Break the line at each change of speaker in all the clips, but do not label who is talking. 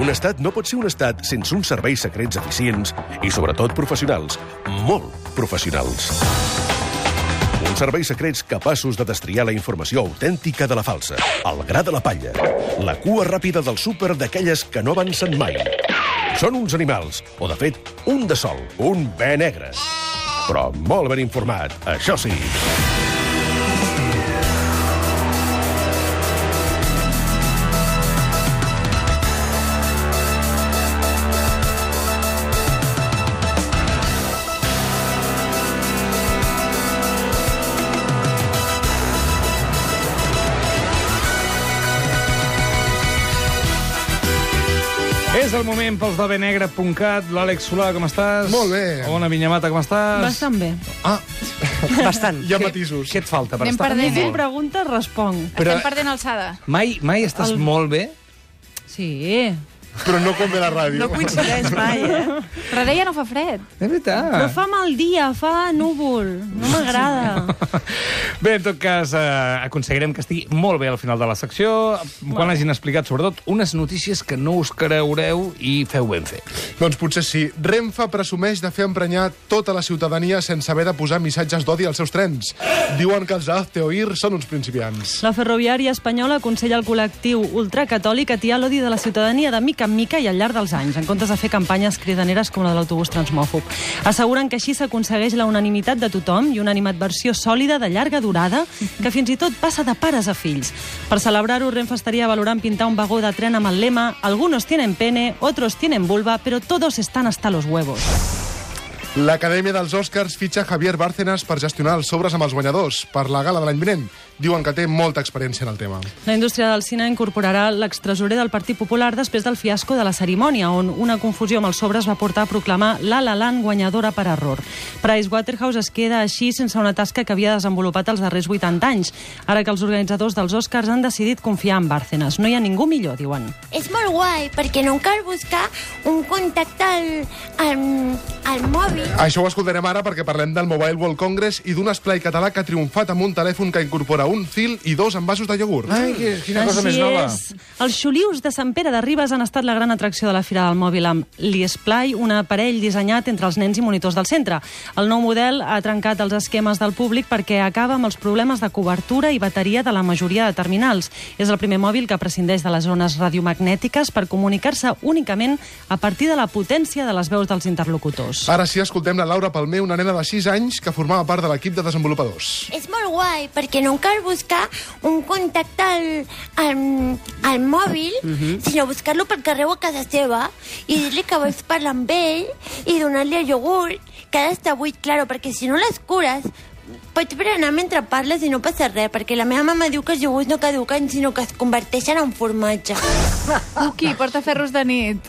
Un estat no pot ser un estat sense uns serveis secrets eficients i, sobretot, professionals. Molt professionals. Uns serveis secrets capaços de destriar la informació autèntica de la falsa, el gra de la palla, la cua ràpida del súper d'aquelles que no avancen mai. Són uns animals, o de fet, un de sol, un bé negre. Però molt ben informat, això sí.
És el moment pels de benegre.cat. L'Àlex Solà, com estàs?
Molt bé.
Ona Vinyamata, com estàs?
Bastant bé.
Ah,
Bastant.
hi ha matisos.
Què et falta per
Anem
estar
perdent,
molt?
eh? preguntes, responc.
Però-
Estem perdent alçada.
Mai, mai estàs
El-
molt bé?
Sí.
Però no com ve la ràdio.
No coincideix mai, eh?
Però deia no fa fred.
De veritat.
Però fa mal dia, fa núvol. No m'agrada.
Bé, en tot cas, eh, aconseguirem que estigui molt bé al final de la secció, quan hagin explicat, sobretot, unes notícies que no us creureu i feu ben fer.
Doncs potser sí. Renfe presumeix de fer emprenyar tota la ciutadania sense haver de posar missatges d'odi als seus trens. Diuen que els de Azteoir són uns principiants.
La ferroviària espanyola aconsella al col·lectiu ultracatòlic atiar l'odi de la ciutadania de mica en mica i al llarg dels anys, en comptes de fer campanyes cridaneres com la de l'autobús transmòfob. Asseguren que així s'aconsegueix la unanimitat de tothom i una animadversió sòlida de llarga durada que fins i tot passa de pares a fills. Per celebrar-ho, Renfe estaria valorant pintar un vagó de tren amb el lema «Algunos tienen pene, otros tienen vulva, pero todos están hasta los huevos».
L'Acadèmia dels Oscars fitxa Javier Bárcenas per gestionar els sobres amb els guanyadors per la gala de l'any vinent. Diuen que té molta experiència en el tema.
La indústria del cine incorporarà l'extresorer del Partit Popular després del fiasco de la cerimònia, on una confusió amb els sobres va portar a proclamar La La Land guanyadora per error. Pricewaterhouse es queda així sense una tasca que havia desenvolupat els darrers 80 anys, ara que els organitzadors dels Oscars han decidit confiar en Bárcenas. No hi ha ningú millor, diuen.
És molt guai, perquè no cal buscar un contacte al, al, al mòbil.
Això ho escoltarem ara perquè parlem del Mobile World Congress i d'un esplai català que ha triomfat amb un telèfon que incorpora un fil i dos envasos de iogurt.
Ai, quina cosa
Així
més nova.
És. Els xulius de Sant Pere de Ribes han estat la gran atracció de la Fira del Mòbil amb l'Iesplay, un aparell dissenyat entre els nens i monitors del centre. El nou model ha trencat els esquemes del públic perquè acaba amb els problemes de cobertura i bateria de la majoria de terminals. És el primer mòbil que prescindeix de les zones radiomagnètiques per comunicar-se únicament a partir de la potència de les veus dels interlocutors.
Ara sí, escoltem la Laura Palmer, una nena de 6 anys que formava part de l'equip de desenvolupadors.
És molt guai, perquè no cal buscar un contacte al, al, al mòbil, sinó buscar-lo pel carrer o a casa seva i dir-li que vols parlar amb ell i donar-li el iogurt, que ha d'estar buit, claro, perquè si no pues les cures pots berenar mentre parles i no passa res, perquè la meva mama diu que els iogurts no caduquen, sinó que es converteixen en formatge.
Uki, porta ferros de nit.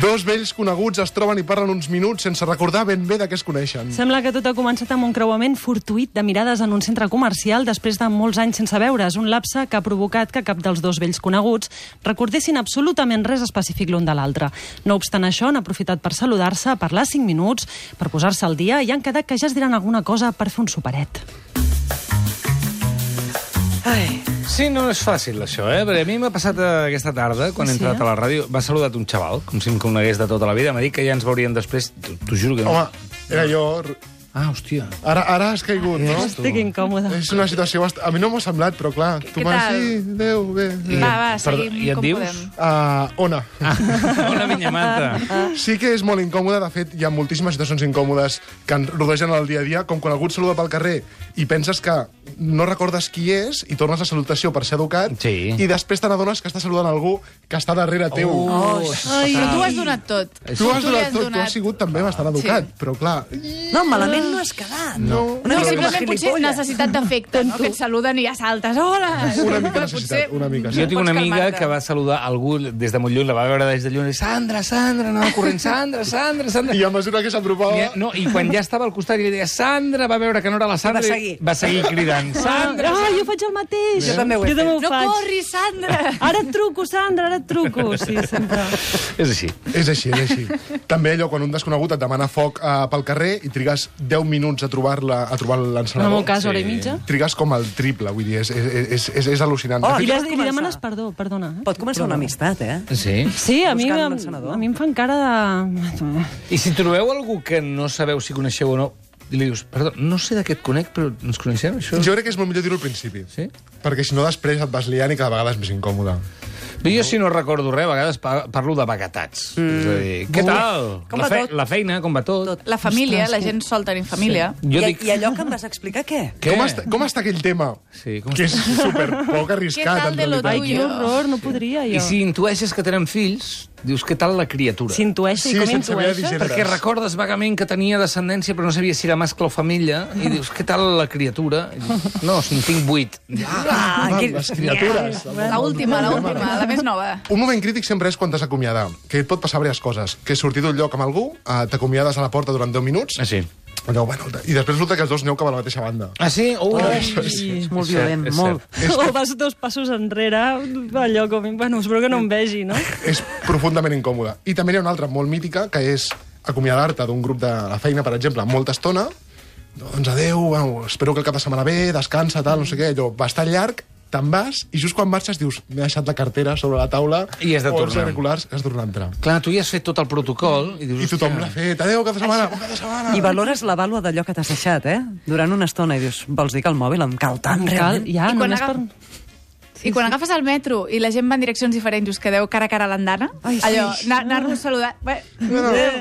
Dos vells coneguts es troben i parlen uns minuts sense recordar ben bé de què es coneixen.
Sembla que tot ha començat amb un creuament fortuït de mirades en un centre comercial després de molts anys sense veure's, un lapse que ha provocat que cap dels dos vells coneguts recordessin absolutament res específic l'un de l'altre. No obstant això, han aprofitat per saludar-se, parlar 5 minuts, per posar-se al dia i han quedat que ja es diran alguna cosa per fer un superet.
Ai.
Sí, no és fàcil, això, eh? Perquè a mi m'ha passat eh, aquesta tarda, quan he
Sí,
entrat
eh?
a la ràdio, m'ha saludat un xaval, com si em conegués de tota la vida, m'ha dit que ja ens veuríem després, t'ho t'ho juro que no.
Home, era jo...
Ah, hòstia.
Ara, ara has caigut, no?
Estic incòmode.
És una situació... Bast... A mi no m'ho ha semblat, però clar, tu
Què
m'has
tal?
dit... Sí, adéu, bé.
Va, va,
Perdó,
seguim
i et
com
dius?
podem.
Uh, Ona,
Una vinyamata.
sí que és molt incòmode, de fet, hi ha moltíssimes situacions incòmodes que ens rodegen el dia a dia, com quan algú et saluda pel carrer i penses que no recordes qui és i tornes la salutació per ser educat
Sí.
i després te n'adones que està saludant algú que està darrere teu.
Oh,
Ai, però tu ho has donat tot.
Tu has
Oh. li
donat tot, tu has sigut també bastant educat,
Sí.
però clar...
No, malament no has quedat.
No.
No,
Una mica com a
simplement potser
gilipolles.
necessitat d'afecte, no? Que et saluden i ja saltes. Hola!
Una mica
Però
necessitat,
potser
una mica, sí.
Jo tinc
pots
una amiga
calmar-te.
que va saludar algú des de molt lluny, la va veure des de lluny, i, Sandra, Sandra, anava corrent, Sandra, Sandra, Sandra.
I a mesura que s'apropava...
I, no, I quan ja estava al costat i li deia Sandra, va veure que no era la Sandra,
Va
i
seguir.
va seguir cridant Sandra.
Ah, jo faig el mateix!
Jo també ho he
jo també ho
fet.
No
faig.
corris, Sandra!
Ara et truco, Sandra, ara et truco. Sí, sempre.
És així.
És així, és així. També allò, quan un desconegut et demana foc eh, pel carrer i trigues 10 minuts a trobar-la a trobar
En el
l'encenedor...
meu cas,
Sí.
hora i mitja.
Trigues com el triple, vull dir, és, és, és, és, és al·lucinant.
Oh,
De
I,
fet,
les,
vas
I li
començar?
demanes perdó, perdona. Eh?
Pot començar una amistat, eh?
Sí.
Sí, a mi,
Buscant
em-
l'encenedor.
a mi em fan cara de...
I si trobeu algú que no sabeu si coneixeu o no, i li dius, perdó, no sé de què et conec, però ens coneixem, això?
jo crec que és molt millor dir-ho al principi.
Sí?
Perquè si no, després et vas liant i cada vegada és més incòmode.
Bé, jo si no recordo res, a vegades pa- parlo de vaguetats. Mm. És a dir, què tal?
Com
la,
va tot?
la feina, com va tot?
Tot.
La família, la gent sol tenir família.
Jo
I,
dic...
I allò que em vas explicar, què?
Què?
Com està, com està aquell tema?
Sí, com
que és super poc arriscat.
Què tal
en
de lo
realitat.
Ai,
Ui,
quin
jo.
horror, no podria
I
jo.
si intueixes que tenen fills, dius, què tal la criatura?
S'intueix
Sí,
i com
sense haver de
intueixes?
digerir.
Perquè recordes vagament que tenia descendència, però no sabia si era mascle o família, i dius, què tal la criatura? I dius, no, si en tinc vuit.
Ah,
Ah,
quin-
les criatures.
La última, la última, la més nova.
Un moment crític sempre és quan t'has acomiadat, que et pot passar diverses coses. Que sortir d'un lloc amb algú, eh, t'acomiades a la porta durant 10 minuts,
Ah, sí.
allò, bueno, i després resulta que els dos aneu cap a la mateixa banda.
Ah, sí? Ui,
És molt violent,
és
molt.
O vas dos passos enrere, allò com... Bueno, espero que no em vegi, no?
És profundament incòmode. I també n'hi ha una altra molt mítica, que és acomiadar-te d'un grup de la feina, per exemple, amb molta estona, doncs adeu, bueno, espero que el cap de setmana bé, descansa, tal, no sé què, allò, bastant llarg, te'n vas, i just quan marxes dius, m'he deixat la cartera sobre la taula,
I has de
o els
tornar.
auriculars, has de tornar a entrar.
Clar, tu ja has fet tot el protocol i dius...
I tothom
"Hòstia".
l'ha fet, adeu, cap de setmana, bon cap de setmana.
I valores la vàlua d'allò que t'has deixat, eh? Durant una estona i dius, vols dir que el mòbil em cal tant,
Cal,
realment?
ja,
I quan
només
agaf-
per...
I quan agafes el metro i la gent va en direccions diferents, us quedeu cara a cara a l'andana,
Ai, sí. Ah.
allò, anar- anar-nos saludant... Bé,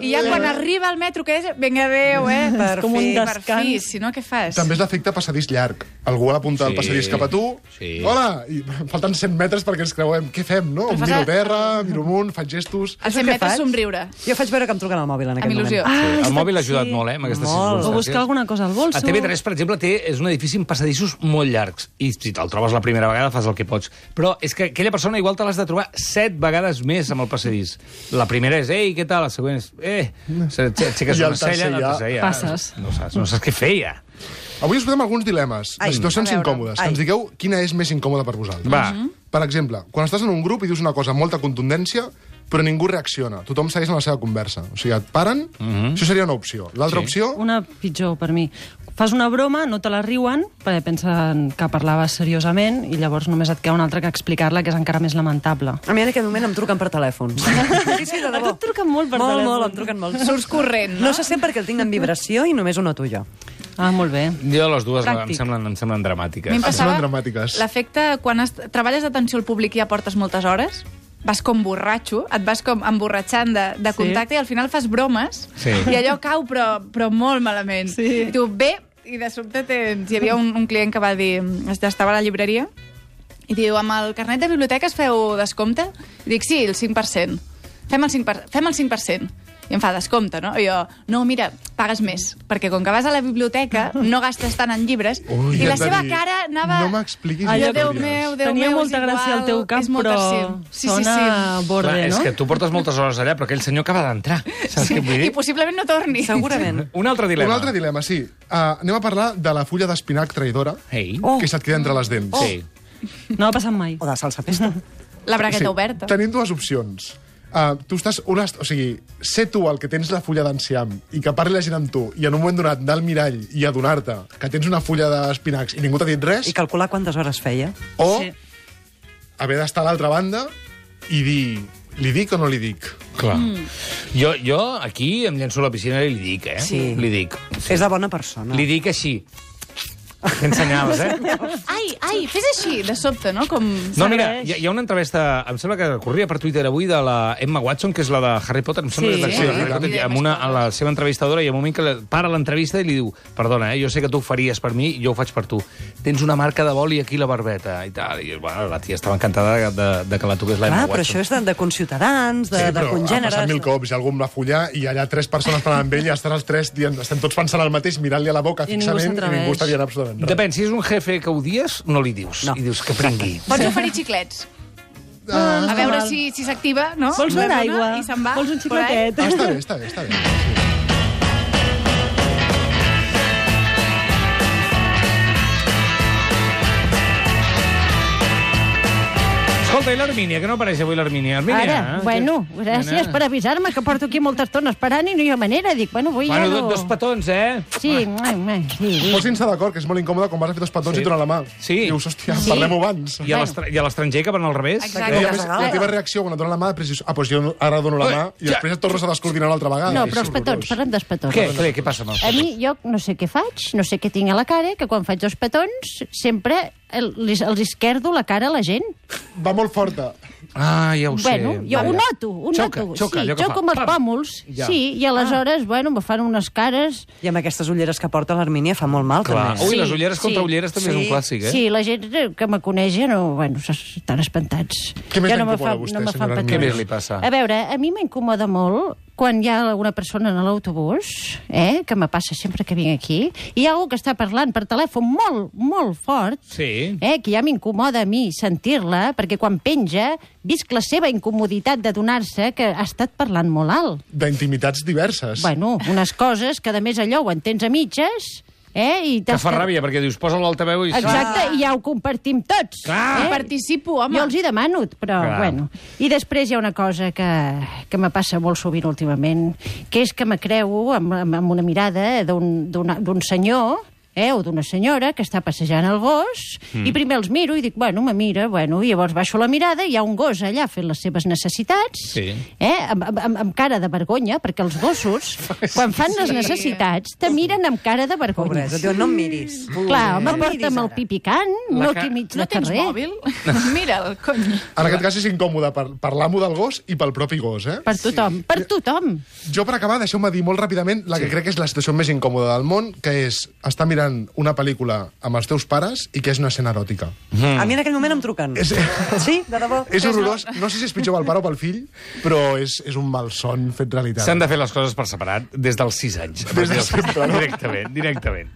I ja quan arriba el metro, que és... Vinga, adéu, eh?
Per
com un
fi,
des-
Per fi, si no, què fas?
També és l'efecte passadís llarg. Algú a la punta
Sí,
del passadís cap a tu.
sí.
Hola! I falten 100 metres perquè ens creuem. Què fem, no?
Però
Em
fas
miro
a-
a terra, miro amunt, faig gestos...
Al
Això
100
què
metres
faig?
somriure.
Jo faig veure que em truquen al mòbil en
Amb
aquell moment.
il·lusió.
Sí,
Ah,
el mòbil ha
sí.
ajudat molt, eh, amb aquestes
Molt.
O
circumstàncies.
buscar alguna cosa al bolso.
A TV3, per exemple, té, és una edifici amb passadissos molt llargs. I si te'l trobes la primera vegada, fas el que pots. Però és que aquella persona igual te l'has de trobar set vegades més amb el passadís. La primera és, ei, què tal? La següent és, eh... Se- se- Aixeques
I el
una cella,
tercer
la
ja.
tercera ja...
Passes.
No saps, no saps què feia.
Avui us posem alguns dilemes,
Ai,
Ai, situacions
a veure.
incòmodes.
Ai.
Que ens digueu quina és més incòmoda per vosaltres.
Va. Mhm.
Per exemple, quan estàs en un grup i dius una cosa amb molta contundència, però ningú reacciona. Tothom segueix amb la seva conversa. O sigui, et paren,
Mhm.
això seria una opció. L'altra opció...
Una pitjor, per mi. Fas una broma, no te la riuen, perquè pensen que parlaves seriosament i llavors només et queda una altra que explicar-la, que és encara més lamentable.
A mi en aquest moment em truquen per telèfon. Sí, sí, de
A tu et truquen molt per
molt,
telèfon.
Molt, em truquen molt.
Surts corrent,
Ah. No
no?
se sent perquè el tinc en vibració i només ho noto jo.
Ah, molt bé.
Jo les dues em
Pràctic.
semblen, em semblen dramàtiques. Ah,
A mi em passava
Semblen dramàtiques.
l'efecte quan es, treballes d'atenció al públic i ja portes moltes hores, vas com borratxo, et vas com emborratxant de, de
Sí.
contacte i al final fas bromes
Sí.
i allò cau però, però molt malament.
Sí.
I tu, bé, i de sobte tens... Hi havia un, un client que va dir... Estava a la llibreria i diu, amb el carnet de biblioteca es feu descompte? I dic, sí, el 5%. Fem el 5%. Fem el 5%. I em fa descompte, no? I jo, no, mira, pagues més, perquè com que vas a la biblioteca no gastes tant en llibres,
Ui,
i la
hem de
seva
dir,
cara anava...
no m'expliquis
Allò, Déu
històries.
meu, Déu
Tenia
meu,
molta
és igual,
gràcia al teu cap,
és molt
però
tercer. sí,
sona
sí,
borde,
Clar,
no?
és que tu portes moltes hores allà, però aquell senyor acaba d'entrar. Saps
sí.
què vull
sí.
dir?
I possiblement no torni.
Segurament.
Un altre dilema.
Un altre dilema, sí. Uh, anem a parlar de la fulla d'espinac traïdora,
Ei.
Oh.
que se't queda entre les dents.
Sí.
No ha passat mai.
O de salsa festa.
La bragueta oberta.
Tenim dues opcions. Uh, tu estàs... Una, est- o sigui, ser tu el que tens la fulla d'enciam i que parli la gent amb tu i en un moment donat anar al mirall i adonar-te que tens una fulla d'espinacs i ningú t'ha dit res,
I calcular quantes hores feia.
o
Sí.
haver d'estar a l'altra banda i dir... Li dic o no li dic?
Clar. Mm. Jo, jo aquí em llenço a la piscina i li dic, eh?
Sí.
Li dic.
És de bona persona.
Li dic així. Fent senyals, eh?
Ai, ai, fes així, de sobte, no? Com...
No, mira, hi ha, hi ha una entrevista, em sembla que corria per Twitter avui, de la Emma Watson, que és la de Harry Potter, em sembla
Sí.
que és l'acció
Sí,
de Harry
i tant.
Potter, i amb una, a la seva entrevistadora hi ha un moment que la, para l'entrevista i li diu perdona, eh, jo sé que tu ho faries per mi, jo ho faig per tu. Tens una marca de boli aquí a la barbeta, i tal. I, bueno, la tia estava encantada de, de, de que la toqués la
Clar,
Emma
però
Watson.
això és de, de conciutadans, de, de
ha
congèneres...
passat mil cops i algú em va fullar i allà tres persones parlant amb ell i estan els tres dient, estem tots pensant el mateix, mirant-li a la boca
I ningú
fixament i
s'atreveix.
ningú està dient absolutament res.
Depèn, si és un jefe que odies, no li dius.
No.
I dius que prengui.
Pots oferir xiclets.
Ah,
A veure si si s'activa, no?
Vols
Una
una
dona
aigua?
I se'n va.
Vols un
por ahí.
xicletet?
ah, està bé, està bé, està bé.
Som Escolta, i l'Armínia, que no apareix avui l'Armínia. Armínia, eh?
Ara, bueno, gràcies per avisar-me, que porto aquí molta estona esperant i no hi ha manera. Dic, bueno, vull
Bueno,
ja
do,
no...
dos petons, eh?
Sí, mua, mua, sí.
Posin-se d'acord, que és molt incòmode quan vas a fer dos petons
Sí.
sí. i et donen la mà.
Sí.
Dius, hòstia, sí. parlem abans.
I a l'estra- I a l'estranger que van al revés?
Exacte.
I a més,
Casagala.
la teva reacció quan et donen la mà, després dius, ah, doncs jo no- ara dono la
Ui,
mà, i
ja.
després et tornes a descoordinar una altra vegada.
No,
És
però els petons,
horrorós.
parlem dels petons.
Què? Què, què passa amb els
A mi, jo no sé què faig, no sé què tinc a la cara, que quan faig dos petons sempre el- els, els esquerdo la cara a la gent.
Va molt forta.
Ah, ja ho sé.
bueno, jo ho
Vaja.
noto, ho
Xoca,
noto.
xoca,
sí,
allò que
xoco
fa.
amb els
Pam.
pòmuls,
Ja.
sí, i aleshores,
Ah.
bueno, me fan unes cares...
I amb aquestes ulleres que porta l'Armínia fa molt mal,
Clar.
també.
Ui, les
Sí,
ulleres contra
sí.
ulleres també és un clàssic, eh?
Sí, la gent eh, que me coneix ja no... Bueno, s- estan espantats.
Què més
ja no me
l'incomoda
fa,
a vostè,
no me fan
senyora Armini?
petons.
Què més li passa?
A veure, a mi m'incomoda molt quan hi ha alguna persona en l'autobús, eh, que me passa sempre que vinc aquí, i hi ha algú que està parlant per telèfon molt, molt fort,
Sí.
eh, que ja m'incomoda a mi sentir-la, perquè quan penja visc la seva incomoditat d'adonar-se que ha estat parlant molt alt.
D'intimitats diverses.
Bueno, unes coses que, a més, allò ho entens a mitges, eh? I
Que
t'has
fa
quedat-
ràbia, perquè dius, posa l'altaveu i...
Exacte, i ja ho compartim tots.
Clar.
eh?
Participo, home.
Jo els hi demano, però
Clar.
bueno. I després hi ha una cosa que, que me passa molt sovint últimament, que és que me creu amb, amb, amb una mirada d'un d'una- d'un senyor eh, o d'una senyora que està passejant el gos
Hmm.
mm. i primer els miro i dic, bueno, me mira, bueno, i llavors baixo la mirada i hi ha un gos allà fent les seves necessitats,
Sí.
eh, amb, amb- amb, amb cara de vergonya, perquè els gossos, quan fan les
Sí.
necessitats, te miren amb cara de vergonya.
Pobresa, et diuen, no em miris.
Clar, home,
em miris
porta'm el
ara.
pipicant, no
ca-
aquí mig de
No tens
carrer.
mòbil? Mira'l, cony.
En aquest cas és incòmode per, per l'amo del gos i pel propi gos, eh?
Per tothom, per tothom.
Jo, per acabar, deixeu-me dir molt ràpidament la que crec que és la situació més incòmoda del món, que és estar mirant una pel·lícula amb els teus pares i que és una escena eròtica.
A mi en aquell moment em truquen.
És-
Sí, de debò.
És horrorós. No sé si és pitjor pel pare o pel fill, però és, és un malson fet realitat.
S'han de fer les coses per separat des dels 6 anys.
Des de sempre, no?
Directament, directament.